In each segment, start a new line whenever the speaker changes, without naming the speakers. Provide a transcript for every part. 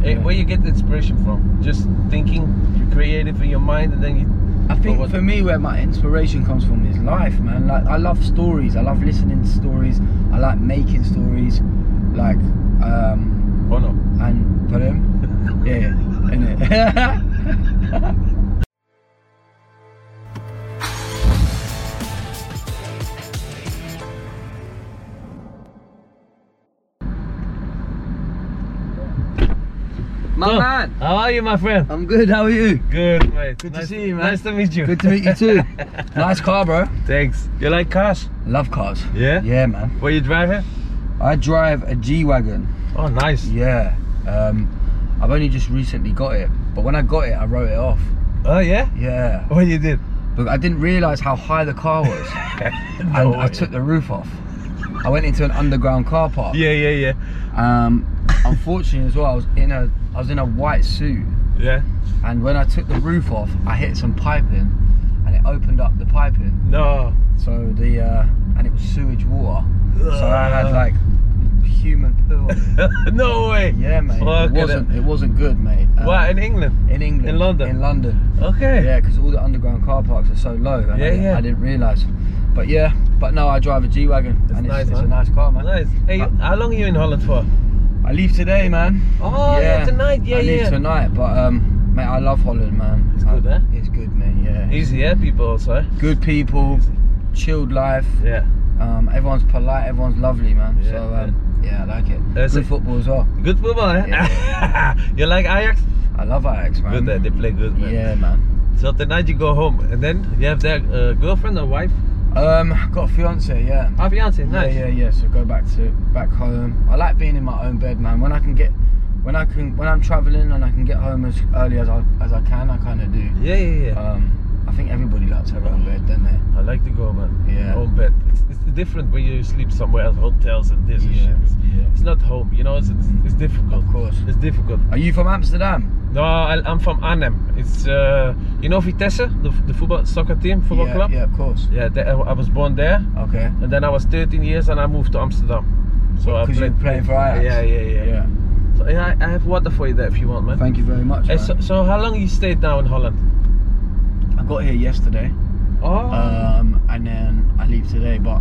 where, where you get the inspiration from? Just thinking, you're creative in your mind, and then you.
I
But
think
what-
for me, where my inspiration comes from is life, man. Like I love stories. I love listening to stories. I like making stories. Like, um,
Oh no.
and put them, yeah, innit? my
Oh,
man,
How are you, my friend?
I'm good. How are you?
Good, mate.
Good to
nice,
see you, man.
Nice to meet you.
Good to meet you too. nice car, bro.
Thanks. You like cars?
Love cars.
Yeah?
Yeah, man.
What you driving?
I drive a G wagon.
Oh, nice.
Yeah. Um, I've only just recently got it, but when I got it, I wrote it off.
Oh, yeah?
Yeah.
What you did?
But I didn't realise how high the car was,
No
and I
way.
took the roof off. I went into an underground car park.
Yeah, yeah, yeah.
Um, unfortunately, as well, I was in a I was in a white suit,
Yeah.
and when I took the roof off, I hit some piping, and it opened up the piping.
No.
So the uh, and it was sewage water. So I had like human poo. on me.
no way.
Yeah, mate.
Fuck
it wasn't. It wasn't good, mate. Uh,
What, in England?
In England.
in London?
In London.
Okay.
Yeah, because all the underground car parks are so low. and I,
Yeah, yeah.
I didn't realise. But yeah, but no, I drive a G wagon,
That's
and it's,
nice,
it's a
man.
nice car, man.
Nice. Hey,
Uh,
how long are you in Holland for?
I leave today, man.
Oh, yeah, tonight. Yeah,
I
yeah.
leave tonight, but um, mate, I love Holland, man.
It's
I-
good, eh?
It's good, mate. Yeah.
Easy, yeah, people also. eh?
good people,
Easy.
chilled life.
Yeah.
Um, everyone's polite, everyone's lovely, man.
Yeah,
so um, yeah. I like it.
That's
good
it.
football as well.
Good football, eh? you like Ajax?
I love Ajax, man.
Good, eh? They play good, man.
yeah, man.
So tonight you go home, and then you have their uh, girlfriend or wife?
Um, got a fiance, yeah.
Ah, fiance, nice.
Yeah, yeah, yeah. So go back to back home. I like being in my own bed, man. When I can get, when I can, when I'm traveling and I can get home as early as I as I can, I kind of do.
yeah, yeah. yeah.
Um, I think everybody likes their own bed, don't they?
I like to go, man.
Uh, Yeah.
Home bed. It's, it's different when you sleep somewhere else, hotels and this and
Yeah,
shit. It's,
yeah.
it's not home, you know. It's, it's, it's difficult.
Of course.
It's difficult.
Are you from Amsterdam?
No, I, I'm from Arnhem. It's uh, you know Vitesse, the, the football soccer team, football
yeah,
club.
Yeah, of course.
Yeah, there- I was born there,
Okay.
and then I was 13 years, and I moved to Amsterdam. So I
Because you're
played.
playing for Ajax.
Yeah, yeah, yeah. So, yeah, I I have water for you there if you want, man.
Thank you very much.
Hey,
Man.
Eh, so, so how long you stayed now in Holland?
I got here yesterday.
Oh,
um, and then I leave today. But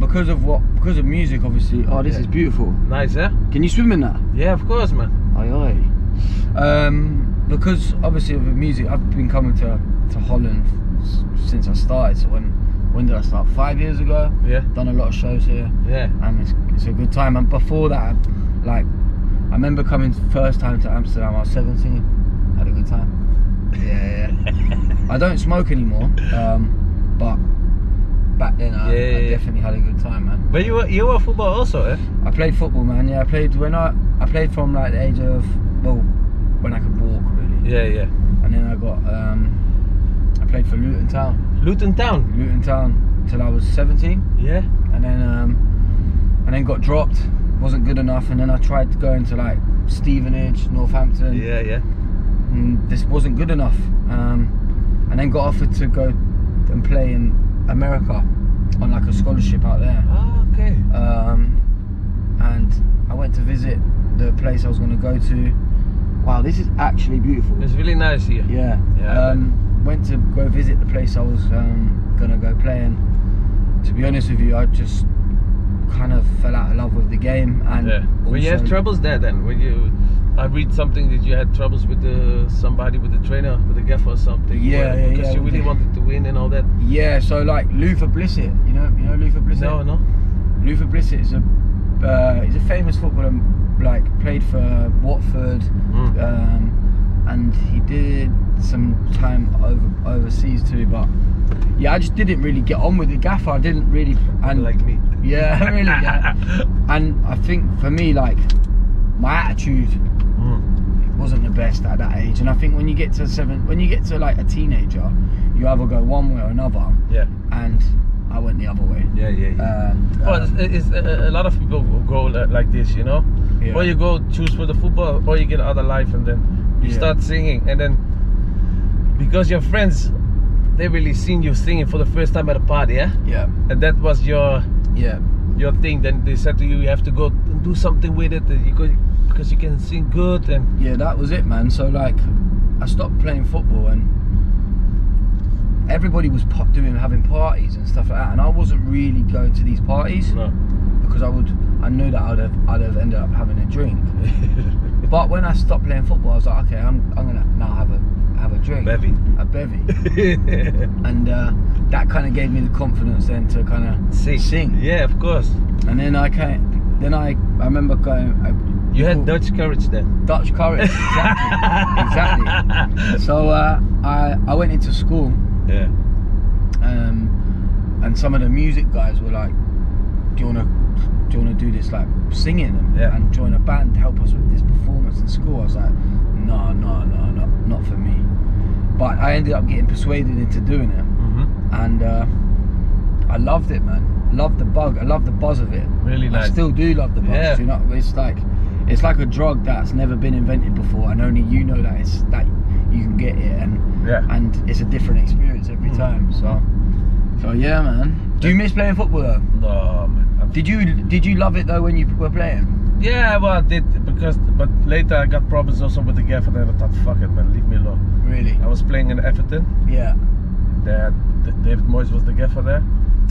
because of what, because of music, obviously. Oh, this
Yeah.
is beautiful.
nice, eh?
Can you swim in that?
Yeah, of course, man.
Aye, aye. Um, because obviously of the music, I've been coming to to Holland s- since I started. So when when did I start? Five years ago.
Yeah,
Done a lot of shows here,
yeah.
and it's, it's a good time. And before that, I- like I remember coming first time to Amsterdam. I was 17. Had a good time. Yeah, yeah. I don't smoke anymore, um, but back then I,
Yeah, yeah,
I
yeah.
definitely had a good time, man.
but you were you were football also, eh?
I played football, man. Yeah, I played when I I played from like the age of well, when I could walk really,
Yeah, yeah.
and then I got um, I played for Luton Town,
Luton Town.
Luton Town till I was 17,
Yeah.
and then um, and then got dropped, wasn't good enough, and then I tried going to like Stevenage, Northampton,
Yeah, yeah.
and this wasn't good enough. Um, and then got offered to go and play in America on like a scholarship out there.
Oh, okay.
Um, and I went to visit the place I was going to go to. Wow, this is actually beautiful.
It's really nice here.
Yeah.
Yeah, I
Um, went to go visit the place I was um, going to go play in. To be honest with you, I just kind of fell out of love with the game and
Yeah. When you have
also-
troubles there, then when you, I read something that you had troubles with the somebody with the trainer with the gaffer or something.
Yeah,
well,
yeah,
Because
yeah,
you
with
really
the-
wanted to win and all that.
Yeah, so like Luther Blissett, you know, you know Luther Blissett.
No, no.
Luther Blissett is a uh, he's a famous footballer. Like played for Watford,
Mm.
um, and he did some time over overseas too. But yeah, I just didn't really get on with the gaffer. I didn't really and
like me.
yeah, really. Yeah. and I think for me, like my attitude
Mm.
wasn't the best at that age. And I think when you get to seven, when you get to like a teenager, you either go one way or another.
Yeah. Uh,
And I went the other way.
Yeah, yeah, yeah.
And,
Well,
um,
it's, it's, a, a lot of people go li- like this, you know.
Yeah.
Or you go choose for the football, or you get other life, and then you
Yeah.
start singing, and then because your friends, they really seen you singing for the first time at a party, yeah,
yeah,
and that was your
yeah.
your thing, then they said to you, you have to go and do something with it. that You could because you can sing good and
yeah, that was it, man. So like, I stopped playing football and everybody was pop doing having parties and stuff like that, and I wasn't really going to these parties because I would I knew that I'd have I'd have ended up having a drink. But when I stopped playing football, I was like, okay, I'm I'm gonna now have a have a drink,
Bevy.
a bevy, and uh, that kind of gave me the confidence then to kind of
sing.
Sing.
Yeah, of course.
and then I came, then I I remember going. I,
You had Dutch courage then.
Dutch courage, exactly, exactly. So uh, I I went into school
Yeah.
um, and some of the music guys were like, "Do you wanna do you wanna do this like singing and,
Yeah.
and join a band to help us with this performance in school?" I was like, "No, no, no, no, not for me." But I ended up getting persuaded into doing it,
hmm
and uh, I loved it, man. Loved the bug. I loved the buzz of it.
Really nice.
I still do love the buzz.
Yeah.
Do you know? It's like it's like a drug that's never been invented before, and only you know that it's that you can get it, and
Yeah.
and it's a different experience every
Mm.
time. So, so yeah, man. Do you miss playing football though?
No, man. I'm-
Did you did you love it though when you were playing?
Yeah, well, I did because, but later I got problems also with the gaffer. Then I thought, fuck it, man, leave me alone.
Really?
I was playing in Everton.
Yeah.
There, D- David Moyes was the gaffer there.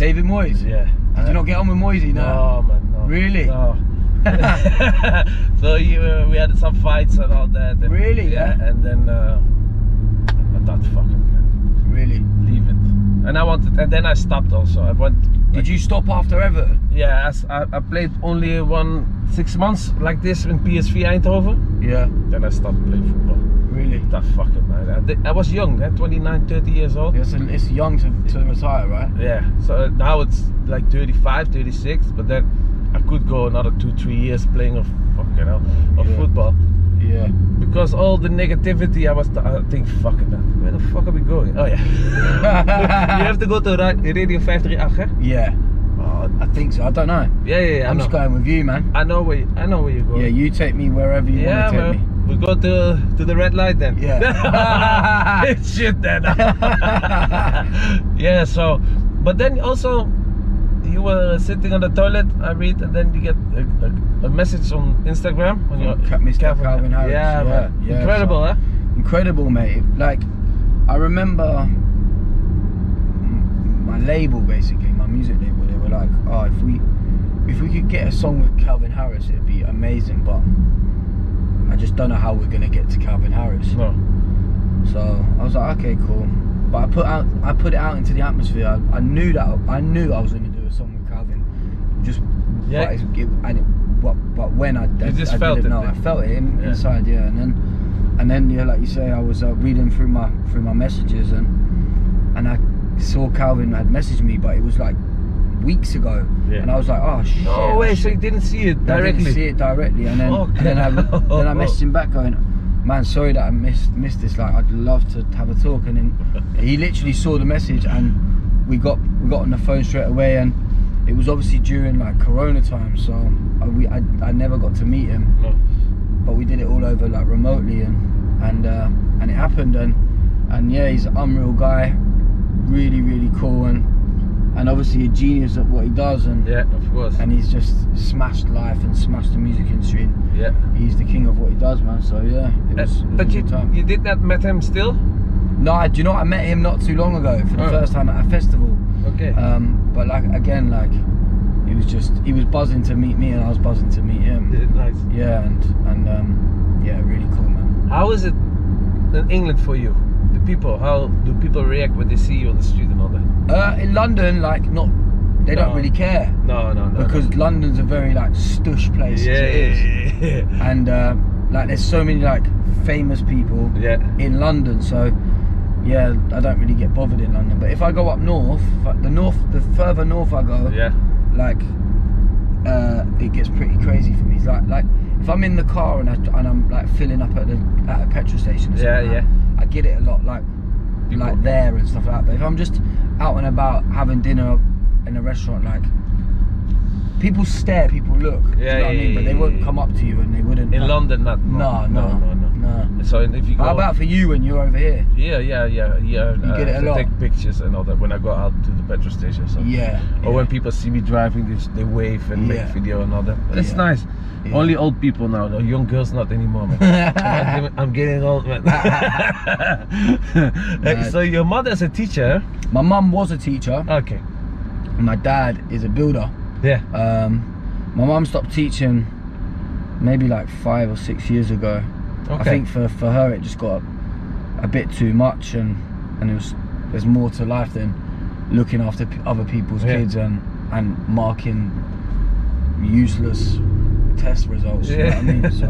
David Moyes.
Yeah.
Did you not get on with Moyesy?
No, man, no.
Really?
No. so you, uh, we had some fights and all that. And,
Really,
Yeah.
yeah?
And then uh, I thought, fuck it, man,
Really?
leave it. And I wanted, and then I stopped also. I went.
Did you stop after Everton?
Yeah, I s- I, I played only one six months like this in PSV Eindhoven.
Yeah.
Then I stopped playing football.
Really?
That fucking man. I, did- I was young, eh? 29, 30 years old.
It's, it's young to, to retire, right?
Yeah. So uh, now it's like 35, 36, but then I could go another two, three years playing of fucking hell, of
Yeah.
football.
Yeah.
Because all the negativity, I was, th- I think, fucking man, where the fuck are we going? Oh yeah. you have to go to Ra- Radio 538, eh?
Yeah,
Oh,
I think so. I don't know.
yeah, yeah, yeah. I
Ah. I'm
know.
just going with you, man.
I know where, you, I know where you're going.
Yeah, you take me wherever you
Yeah,
want to take me.
man. We go to to the red light then.
Yeah.
It's Shit then. yeah. So, but then also, you were sitting on the toilet. I read, and then you get a, a, a message on Instagram on your
Ca- Mr.
Calvin-
Calvin Harris,
Yeah,
yeah,
man.
yeah,
Incredible,
so-
huh?
Incredible, mate. Like, I remember m- my label, basically, my music label. They were like, "Oh, if we, if we could get a song with Calvin Harris, it'd be amazing." But I just don't know how we're gonna get to Calvin Harris.
No.
So I was like, okay, cool. But I put out, I put it out into the atmosphere. I, I knew that, I knew I was going to do a song with Calvin. Just,
Yeah.
But, it's- it, and it, but, but when I, I,
You just
I
felt
didn't
it,
know,
then.
I felt it in,
Yeah.
inside, yeah. And then, and then, yeah, like you say, I was uh, reading through my through my messages, and and I saw Calvin had messaged me, but it was like weeks ago,
Yeah.
and I was like, oh shit.
No
I
way. So
should-
you didn't see it
I
directly.
didn't see it directly, and then
Fuck.
and then I then I messaged him back going, "Man, sorry that I missed missed this. Like, I'd love to have a talk." And then he literally saw the message, and we got we got on the phone straight away. And it was obviously during like Corona time, so I, we I, I never got to meet him,
No.
but we did it all over like remotely, and and uh, and it happened, and and yeah, he's an unreal guy, really really cool, and and obviously a genius at what he does, and
Yeah, of course.
and he's just smashed life and smashed the music industry. And
yeah.
he's the king of what he does, man. So yeah, it was, it was
but
a
you
good time.
you did not met him still?
No, I- do you know what? I met him not too long ago for the
Oh.
first time at a festival.
Okay.
Um, but like again, like he was just he was buzzing to meet me, and I was buzzing to meet him.
Yeah, nice.
Yeah, and and um, yeah, really cool, man.
How is it in England for you? The people, how do people react when they see you on the street and all that?
Uh, in London, like not they
No.
don't really care
No, no, no.
because London's a very like stush
no.
place. as
yeah,
it is.
yeah, yeah,
And uh, like there's so many like famous people.
yeah. yeah.
in London, so yeah, I don't really get bothered in London. But if I go up north, like the north, the further north I go,
Yeah,
like uh, it gets pretty crazy for me. It's like like if I'm in the car and I and I'm like filling up at, the, at a petrol station, or
Yeah,
something like
yeah.
that, I get it a lot, like
People-
like there and stuff like that. But if I'm just out and about having dinner in a restaurant, like people stare, people look. do you
Yeah,
know what I
yeah,
mean? But
yeah,
they
yeah,
won't
yeah.
come up to you and they wouldn't.
In
like-
London, not.
No, no,
no, no.
no.
So and if you go
How about for you when you're over here?
Yeah, yeah, yeah, yeah.
You get it a
I
lot.
take pictures and all that when I go out to the petrol station. So.
Yeah.
Or when people see me driving, they, s- they wave and
Yeah.
make video and all that. It's
Yeah.
nice.
Yeah.
Only old people now, though. Young girls not anymore, man. I'm getting- I'm getting old, man. Hey, so your mother's a teacher?
My mum was a teacher.
Okay.
and My dad is a builder.
Yeah.
Um, my mum stopped teaching maybe like five or six years ago.
Okay.
I think for, for her it just got a, a bit too much and and it was there's more to life than looking after p- other people's
Yeah.
kids and and marking useless test results. You know what I
Yeah.
mean? So,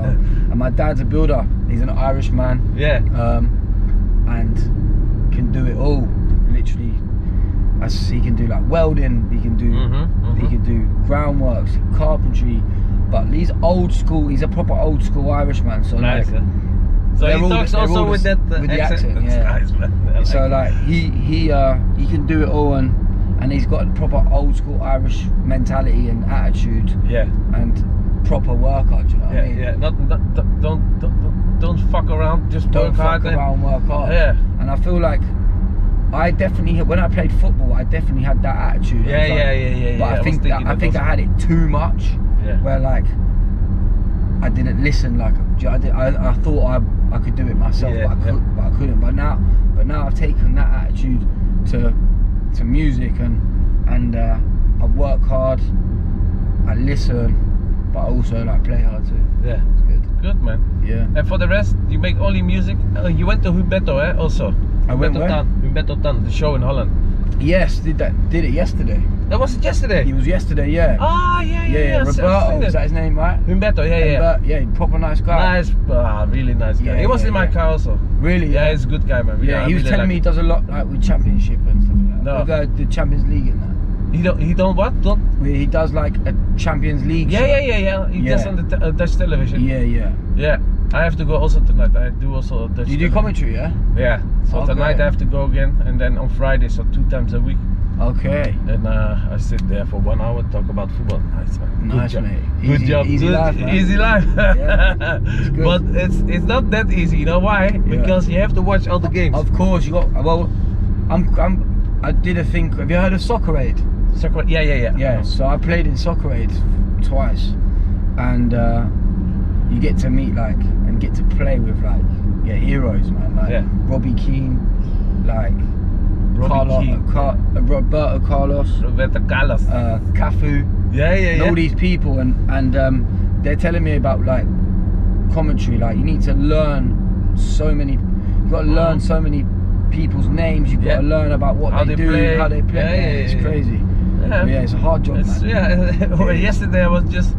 and my dad's a builder. He's an Irish man
Yeah.
um, and can do it all. Literally, as he can do like welding, he can do
Mhm,
he
mhm.
can do groundworks, carpentry. But he's old school. He's a proper old school Irishman. So
Nice.
like,
huh? So
they're
he
all-
talks
they're
also
all
with
the
that
s-
uh,
with the accent,
That's
yeah.
nice, man. I
so
it.
like he he uh he can do it all and and he's got proper old school Irish mentality and attitude
Yeah.
and proper worker. Do you know what
Yeah,
I mean?
yeah. Not, not, don't, don't, don't, don't fuck around. Just
Don't
work
fuck
hard. and-
around, work hard.
Yeah.
And I feel like I definitely when I played football, I definitely had that attitude. I
Yeah,
was like-
yeah, yeah, yeah,
But
yeah, I
I
was
think that,
thinking
I
that
think I
also.
had it too much,
Yeah.
where like I didn't listen. Like do you- I, did, I, I thought I, I could do it myself,
Yeah,
but, I
yeah.
could, but I couldn't. But now, but now I've taken that attitude to to music and and uh, I work hard, I listen, but I also like play hard too.
Yeah.
It's good.
Good man.
Yeah.
And for the rest, you make only music. Uh, you went to Humberto, eh? Also.
I went
Humberto
where?
Tan. Humberto Tan, the show in Holland.
Yes, did that did it yesterday.
That was it yesterday.
He was yesterday, yeah.
Ah, yeah, yeah,
yeah,
yeah.
yeah,
I've seen
Roberto,
it.
is that his name, right?
Humberto, yeah, yeah.
But yeah, proper nice guy.
Nice, ah, really nice guy.
Yeah,
he was
yeah,
in my
yeah.
car also.
Really?
Yeah, he's a good guy, man.
Yeah,
I
he was
really
telling
like
me he does a lot like with championship and stuff like that.
No.
With, uh, the Champions League and that.
him. He don't, he don't what? Don't.
Where he does like a Champions League.
Yeah,
show.
yeah, yeah, yeah. He
Yeah.
does on the te- uh, Dutch television.
Yeah, yeah.
Yeah. I have to go also tonight. I do also Dutch.
You do
television.
commentary, yeah?
Yeah. So
Okay.
tonight I have to go again, and then on Friday, so two times a week.
Okay.
And uh, I sit there for one hour, talk about football. Nice man.
Nice,
job.
mate.
Good
Easy-
job.
easy
Good-
life, man.
Easy life.
Yeah, it's good.
but it's it's not that easy. You know why? Because you have to watch all the games.
Of course, you got. Well, I'm. I'm I did a thing. Have you heard of Soccer Aid?
Soccer. Yeah, yeah, yeah.
Yeah, so I played in Soccer Aid twice, and uh, you get to meet like and get to play with like yeah heroes, man. Like
Yeah.
Robbie Keane, like
Robbie
Carlo-
Keane.
Car- uh, Roberto Carlos,
Roberto Carlos.
uh, Cafu,
yeah, yeah,
and
yeah.
all these people, and and um, they're telling me about like commentary. Like you need to learn so many. You got to learn so many people's names. You've got to
Yeah.
learn about what
How
they,
they
do,
play.
how they play.
Yeah, yeah,
it's
yeah, yeah.
crazy.
Yeah.
Yeah. yeah, it's a hard job,
It's,
man.
yeah. well, yesterday I was just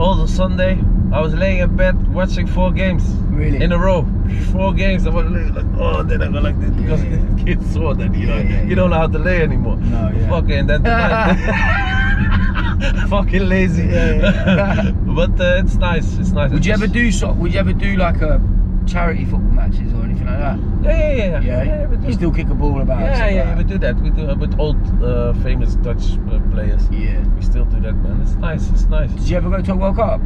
all the Sunday. eh, I was laying in bed watching four games
Really?
in a row. Four games. I was like, oh, then I go like this because
Yeah, yeah.
kids saw that. You know,
Yeah, yeah,
you don't know how to lay anymore.
No, yeah.
Fucking then tonight- Fucking lazy.
Yeah, yeah.
but uh, it's nice. It's nice.
Would
It's
you ever
just-
do so? Would you ever do like a charity football matches or anything like that?
Yeah, yeah, yeah. yeah we do.
you still kick a ball about.
yeah,
and
yeah, we
stuff
do that. We do uh, with old uh, famous Dutch uh, players.
like that?
We still do that, man. It's nice. It's nice.
Did you ever go to a World Cup?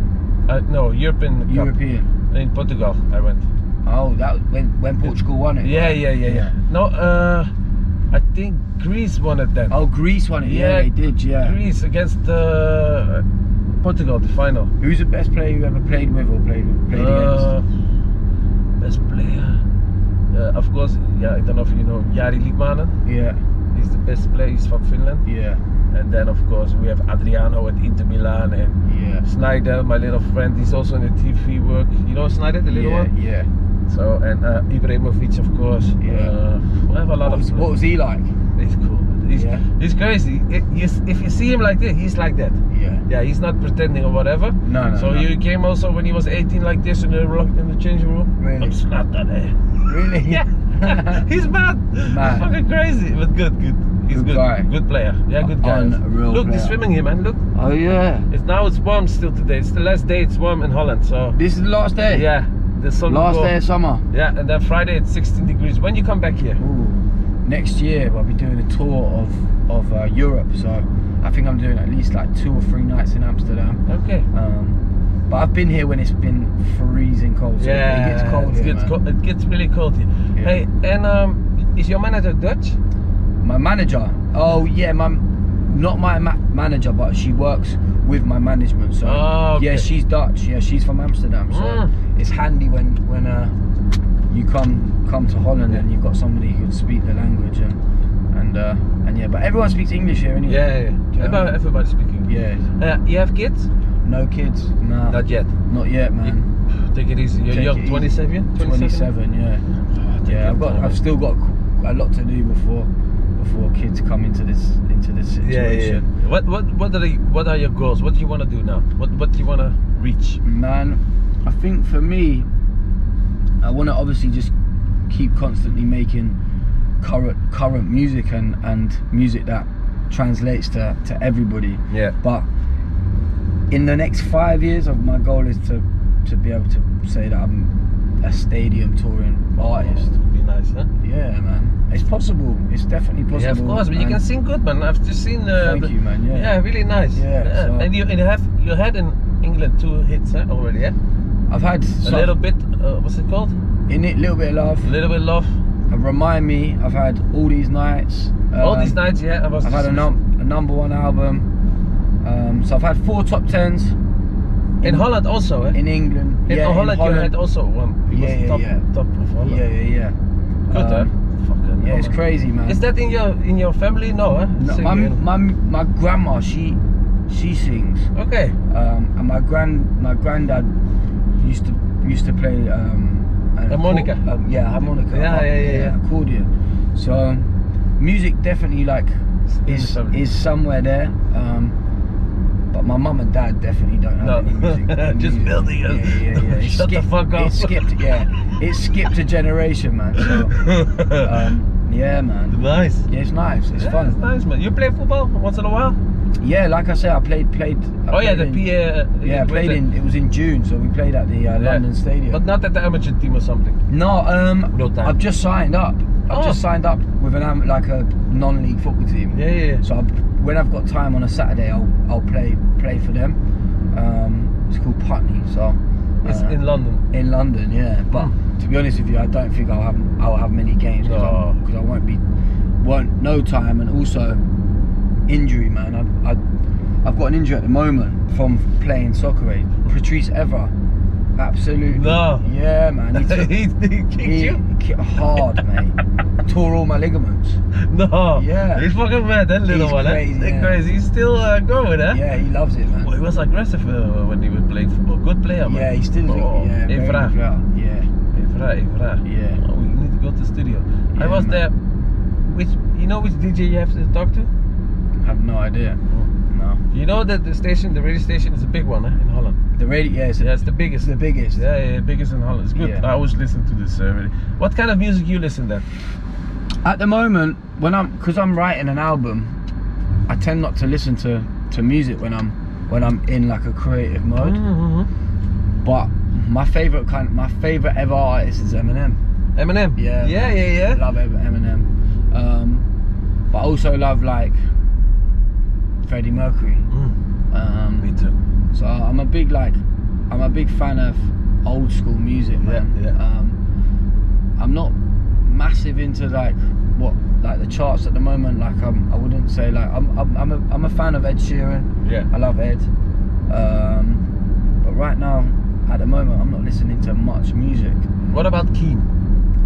Uh, no, European Cup.
European.
In Portugal, I went.
Oh, that was when when Portugal won it.
Yeah,
right?
yeah, yeah, yeah. No, uh, I think Greece won it then.
Oh, Greece won it. Yeah,
Yeah,
they did. Yeah.
Greece against uh, Portugal, the final.
Who's the best player you ever played with or played with, played
Uh, best player. Uh, of course, yeah, I don't know if you know Jari Liedmanen.
against? Yeah.
He's the best player. He's from Finland.
Yeah.
And then, of course, we have Adriano at Inter Milan and
Yeah.
Snyder, my little friend. He's also in the TV work. You know Snyder, the little
yeah,
one.
Yeah.
So and uh, Ibrahimovic, of course.
Yeah.
Uh, we have a lot
What was,
of.
what was he like?
He's cool. man. He's,
Yeah.
he's crazy. It, you, s- if you see him like this, he's like that.
Yeah.
Yeah, he's not pretending or whatever.
No, no,
So
no.
you came also when he was 18 like this in the lock- in the changing room.
Really?
I'm not that. Eh?
Really?
Yeah. he's mad. He's
Mad.
fucking crazy, but good, good. He's
Good
good.
guy.
Good player. Yeah, good guy.
Unreal
Look, they're
player.
swimming here, man. Look,
oh yeah.
it's now it's warm still today. It's the last day it's warm in Holland. So
This is the last day.
yeah, the sun. will
Last
go-
day of summer.
Yeah, and then Friday it's 16 degrees. When you come back here?
Ooh. Next year, I'll be doing a tour of of uh, Europe. So I think I'm doing at least like two or three nights in Amsterdam.
Okay.
Um, but I've been here when it's been freezing cold. So
yeah,
it gets cold.
It
here,
gets,
man.
co- it gets really cold here.
Yeah.
Hey, and um, is your manager Dutch?
My manager. Oh yeah, my not my ma- manager, but she works with my management. So
Oh, okay.
yeah, she's Dutch. Yeah, she's from Amsterdam. So
Mm.
it's handy when when uh, you come come to Holland
Yeah.
and you've got somebody who can speak the language and and uh, and yeah, but everyone speaks English here anyway.
Yeah, yeah.
Do you know what I
About
mean?
everybody speaking.
Yeah.
Uh, you have kids?
No kids. Nah.
Not yet.
not yet, man.
Take it easy. You're
Take it
young.
easy. Ah,
27?
27. Yeah.
Oh, take
Yeah.
your
I've got.
time,
I've
man.
still got a lot to do before before kids come into this into this situation.
Yeah, yeah. What what what are the, what are your goals? What do you want to do now? What what do you want to reach?
Man, I think for me, I want to obviously just keep constantly making current current music and and music that translates to to everybody.
Yeah.
But in the next five years, of my goal is to to be able to say that I'm a stadium touring artist.
Would be nice, huh?
Yeah, man, it's possible. It's definitely possible.
Yeah, of course. But you
and
can sing good, man. I've just seen. Uh,
Thank
the-
you, man. Yeah.
Yeah, really nice.
Yeah, so-
And you and you have you had in England two hits huh, already, yeah?
I've had some,
a little bit. Uh, what's it called?
in it, little bit of love.
A little bit love.
And remind me, I've had all these nights.
All
um,
these nights, yeah. I was
I've had
just-
a, num- a number one album. Um, so I've had four top tens
in Holland also, eh?
in England.
In
yeah,
Holland,
in Holland.
you had also one. It
Yeah,
was
yeah,
top,
yeah.
top of Holland.
yeah, yeah, yeah.
Good,
Um,
huh? Fucking
yeah, it's
Holland.
crazy, man.
Is that in your in your family? No, eh? huh?
No, my,
Singing.
my, my grandma, she she sings,
okay.
um, and my grand my granddad used to used to play um, an
Harmonica.
accor- um, yeah, harmonica.
Yeah,
har-
yeah, yeah, yeah.
Accordion. So um, music definitely like
In the
is
family.
is somewhere there. Um, but my mum and dad definitely don't have
No.
any music.
Just
music.
building
yeah,
it.
yeah, yeah. It
Shut the
skipped-
fuck up.
It skipped, yeah. It skipped a generation, man. So, um, yeah, man.
nice.
Yeah, it's nice. It's
Yeah,
fun.
It's nice, man. You play football once in a while?
Yeah, like I said, I played, played. I
oh yeah, the
played in-
PA. uh,
Yeah, I played
Wimbledon.
in. It was in June, so we played at the uh,
Yeah.
London Stadium.
But not at the amateur team or something.
no, um,
No time.
I've just signed up. I've
Oh.
just signed up with an am- like a non-league football team.
Yeah, yeah, yeah.
So I've, when I've got time on a Saturday, I'll I'll play play for them. Um, it's called Putney, so
It's
uh,
in London.
in London, yeah. But to be honest with you, I don't think I'll have I'll have many games
Hmm. No.
because I won't be won't no time and also injury, man. I, I I've got an injury at the moment from playing soccer. eh? Patrice Evra, absolutely.
No.
Yeah, man. He took-
he, he kicked
he
you?
ki- hard, mate. Tore all my ligaments.
No.
Yeah.
He's fucking mad, that little
He's
one.
crazy,
eh?
yeah.
crazy. He's still uh, going, eh?
Yeah, he loves it, man.
Well, he was aggressive uh, when he was playing football. Good player, man.
Yeah, he's still.
Oh,
yeah, very
Evra.
good player. Yeah,
Evra, Evra.
yeah.
Oh, we need to go to the studio. I
Yeah,
was
man.
there. Which you know which DJ you have to talk to?
I have no idea. No.
You know that the station, the radio station, is a big one eh, in Holland.
The radio. Yeah, it's,
Yeah, it's the biggest.
it's the biggest.
Yeah, yeah, yeah, biggest in Holland. It's good.
Yeah.
I always listen to this. Uh, really. What kind of music you listen to?
At the moment, when I'm, cause I'm writing an album, I tend not to listen to to music when I'm when I'm in like a creative mode.
Mm-hmm.
But my favorite kind, my favorite ever artist is Eminem.
Eminem.
Yeah.
Yeah, yeah, yeah.
Love Eminem. Um, but I also love like Freddie Mercury.
Mm,
Um,
me too.
So I'm a big like, I'm a big fan of old school music, man.
Yeah, yeah.
Um, I'm not massive into like what like the charts at the moment. Like I'm, I wouldn't say like I'm, I'm, I'm a, I'm a fan of Ed Sheeran.
Yeah.
I love Ed. Um, but right now, at the moment, I'm not listening to much music.
What about Keen?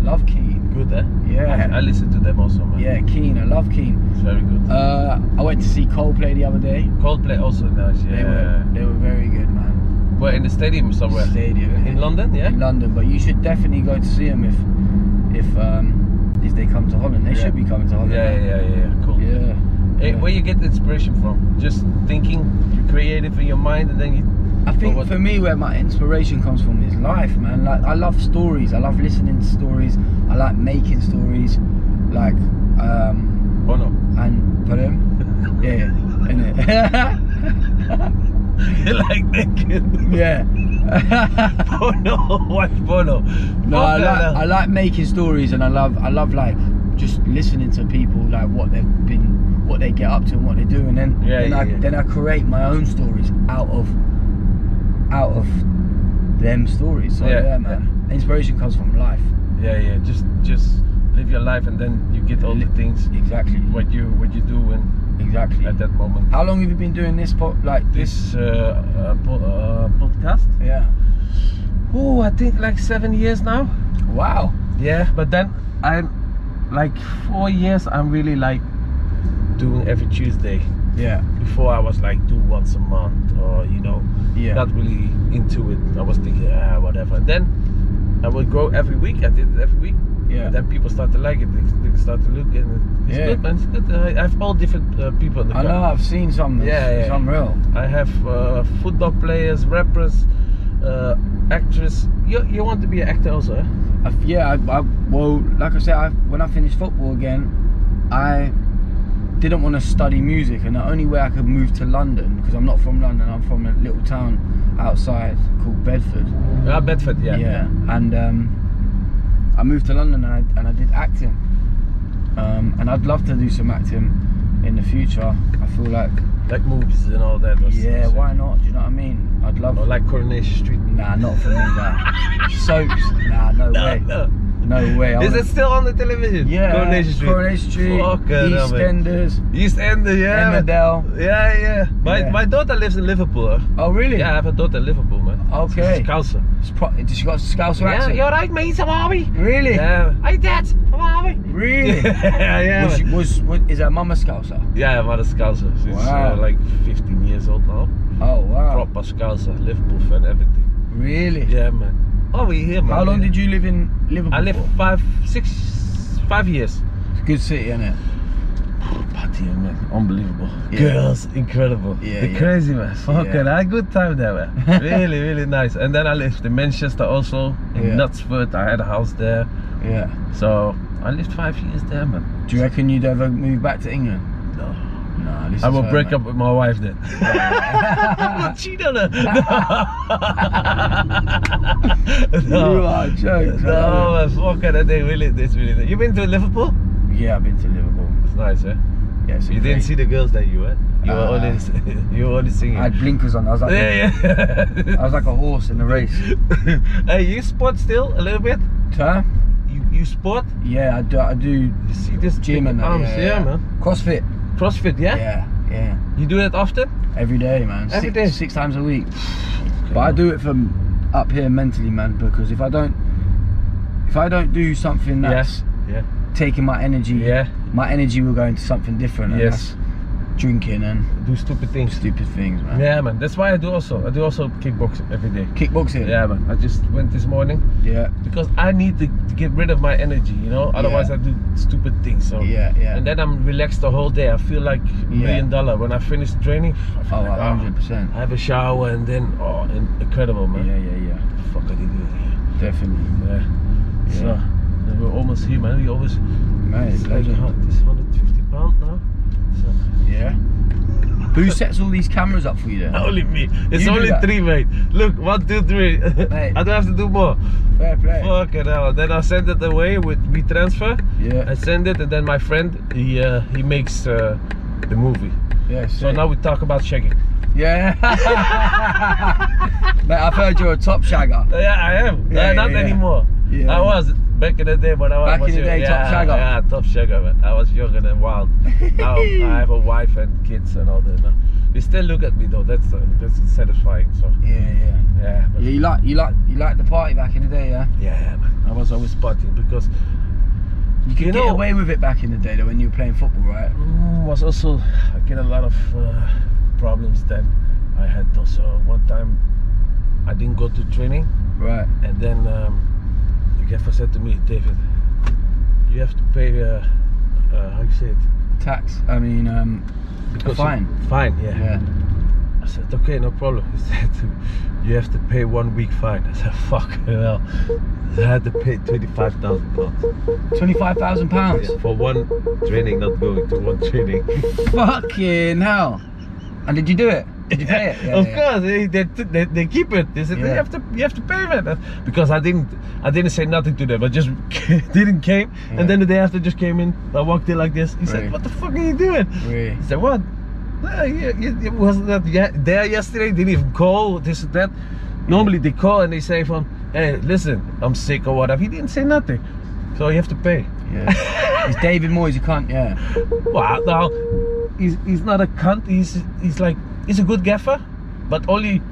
Love Keen.
Good, eh? I, I
Yeah.
listen to them also, man.
Yeah, Keen. I love Keen.
It's very good.
Uh, I went to see Coldplay the other day.
Coldplay also nice.
They
Yeah.
were, they were very good, man.
We're in the stadium somewhere.
Stadium
In London, yeah?
In London, but you should definitely go to see them if if um if they come to Holland. They
Yeah.
should be coming to Holland.
Yeah, yeah, yeah, yeah. Cool.
yeah.
Hey,
Yeah.
where you get the inspiration from? Just thinking, you're creative in your mind, and then you.
I
But
think
what-
for me, where my inspiration comes from is life, man. Like I love stories. I love listening to stories. I like making stories. Like um
Oh no.
and put them. yeah, innit?
you like thinking.
yeah.
Bono, watch Bono.
No, I
Fuck
like,
that.
I like making stories and I love I love like just listening to people like what they've been, what they get up to, and what they do, and then
Yeah,
then,
yeah,
I,
yeah.
then I create my own stories out of out of them stories. So
Yeah,
yeah, man, inspiration comes from life.
Yeah, yeah. Just just live your life, and then you get all the things
Exactly.
what you what you do when
Exactly.
at that moment.
How long have you been doing this? Po- like
This uh, uh, po- uh, podcast.
Yeah.
Oh, I think like seven years now.
Wow.
Yeah, but then I'm like four years. I'm really like doing every Tuesday.
Yeah.
Before I was like do once a month, or you know,
Yeah.
not really into it. I was thinking ah whatever. then I would go every week. I did it every week.
yeah.
And then people start to like it. They, they start to look, and it's
Yeah.
good, man. It's good. I I have all different uh, people in the
I know. I've seen some.
Yeah, yeah.
Some real.
I have uh, football players, rappers, uh, actress. You, you want to be an actor also? eh?
I, yeah. I, I, well, like I said, I, when I finished football again, I didn't want to study music, and the only way I could move to London because I'm not from London. I'm from a little town outside called Bedford.
Ah, Bedford, yeah.
And um, I moved to London and I, and I did acting. Um, and I'd love to do some acting in the future. I feel like
Like movies and all that. or
yeah,
something.
why not? Do you know what I mean? I'd love.
Or like Coronation Street.
Nah, not for me. Nah, soaps. Nah, no,
No,
way.
no.
No way. I
Is
wanna-
it still on the television?
Yeah,
Coronation Street.
Coronation Street,
Fucking hell, man.
EastEnders,
East End, yeah. man.
Emmerdale.
Yeah, yeah. My,
Yeah.
my daughter lives in Liverpool. eh?
Oh, really?
Yeah, I have a daughter in Liverpool, man.
Okay.
She's Scouser.
It's pro- did she got a Scouser
Yeah,
accent?
you're right, mate. I'm Harvey.
Really?
Yeah. Hey, Dad. I'm Harvey.
Really?
yeah, yeah. man.
Was, she, was, was is her mum a Scouser?
Yeah, maar de Scouser. She's
Wow.
uh, like 15 years old now.
Oh wow.
Proper Scouser, Liverpool fan, everything.
Really?
Yeah, man. Oh, we here, man.
How long did you live in Liverpool?
I lived five, six, five years.
It's a good city, isn't it?
Party, man. Unbelievable.
Yeah.
Girls, incredible.
Yeah,
the
yeah.
crazy, man. Fucking, I had good time there, man. really, really nice. And then I lived in Manchester also, in
Yeah.
Knutsford. I had a house there.
Yeah.
So I lived five years there, man.
Do you reckon you'd ever move back to England?
No.
No, this
I
is
will
her,
break
man.
up with my wife then. Not cheat on her. No.
You are a joke,
No, man, fuck it. They really, this really. You been to Liverpool?
Yeah, I've been to Liverpool.
It's nice, eh?
Yeah, it's a
You didn't
great-
see the girls that you, eh? You were
Uh,
only, you were only singing.
I had blinkers on. I was like,
yeah,
I
yeah.
was like a horse in the race.
hey, you sport still a little bit?
Huh?
You, you sport?
Yeah, I do. I do
You see this
gym
big
and that.
arms, yeah, man.
CrossFit.
CrossFit, yeah?
Yeah, yeah.
You do that often?
Every day, man.
Every
six,
day?
six times a week. But I do it from up here mentally, man. Because if I don't, if I don't do something that's
Yes. Yeah.
taking my energy,
Yeah.
my energy will go into something different. And
Yes.
that's drinking and
Do stupid things.
stupid things, man.
Yeah, man. That's why I do also. I do also kickboxing every day.
Kickboxing.
Yeah, man. I just went this morning
Yeah.
because I need to, to get rid of my energy, you know. Otherwise,
Yeah.
I do stupid things. So
Yeah. Yeah.
And then I'm relaxed the whole day. I feel like a million dollar when I finish training. I feel
oh,
like, oh,
100 percent.
I have a shower and then oh, in- incredible,
Yeah,
man.
yeah, yeah.
Fuck, I did it.
Definitely,
Yeah. So then we're almost here, man. We always
mate.
it's like
legend.
hun- it's 150 pound now. So
Yeah. Who sets all these cameras up for you then?
only me. It's
You do
only
that.
three, mate. Look, one, two, three.
Mate.
I don't have to do more.
Fair play.
Fucking hell. Then I send it away with WeTransfer. I
Yeah.
send it, and then my friend he uh, he makes uh, the movie.
Yeah.
So
sick.
now we talk about shagging.
Yeah. Mate, I've heard you're a top shagger.
Uh, yeah, I am.
Yeah,
Uh,
yeah,
not
yeah.
anymore.
Yeah.
I was back in the day, but I was
Back in the
was-
day, top
yeah,
shagger.
Yeah, top shagger. Man. I was younger and wild. now I have a wife and kids and all that. Now. They still look at me though. That's uh, that's satisfying. So
Yeah, yeah.
yeah, but-
Yeah, you like you like you like the party back in the day, yeah.
yeah, man. I was always partying because
You could
You
get
know-
away with it back in the day though when you were playing football, right?
Mm, was also I get a lot of uh, problems that I had also one time I didn't go to training
Right.
and then um, the gaffer said to me David you have to pay uh, uh, how you say it
Tax. I mean, um, a fine.
fine yeah.
Yeah.
I said okay no problem he said to me, you have to pay one week fine I said fuck hell I had to pay 25,000 pounds
Twenty-five thousand pounds.
for one training not going to one training
Fucking hell. And did you do it? Did you pay it? Yeah,
of
yeah.
course, they, they, they, they keep it. They said you
Yeah.
have to you have to pay for that because I didn't I didn't say nothing to them. I just didn't came,
Yeah.
and then the day after just came in. I walked in like this. He said,
Really?
"What the fuck are you doing?"
Really?
He said, "What? "Ah, you, you, you wasn't that ye- there yesterday? Didn't even call this and that." Normally they call and they say, "From hey, listen, I'm sick or whatever." He didn't say nothing, so you have to pay.
Yeah. it's David Moyes, you can't, yeah.
Well, now he's, he's not a cunt. He's he's like he's a good gaffer, but only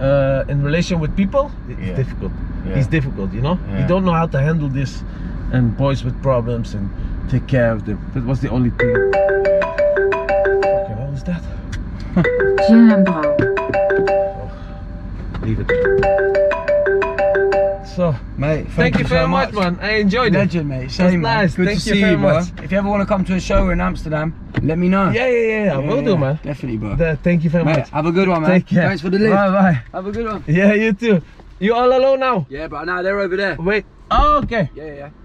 uh, in relation with people. It's
Yeah.
difficult.
Yeah.
He's difficult, you know. You
Yeah.
don't know how to handle this, and boys with problems and take care of them. That was the only thing. Okay, what was that? Oh,
Gyllenbro.
Leave it. So
Mate,
thank, you,
so
very much, man. I enjoyed it.
Legend, mate. Shame, man.
nice.
Good
Thank
to
you
see
very
you, bro.
much.
If you ever want to come to a show in Amsterdam, let me know.
Yeah, yeah, yeah. I
Yeah,
will
yeah,
do, man.
Definitely, bro.
Th- thank you very
Mate,
much.
have a good one, man.
Take care.
Thanks for the lift.
Bye, bye.
Have a good one.
Yeah, you too. You all alone now?
Yeah, but now they're over there.
Wait. Oh, okay.
Yeah, yeah, yeah.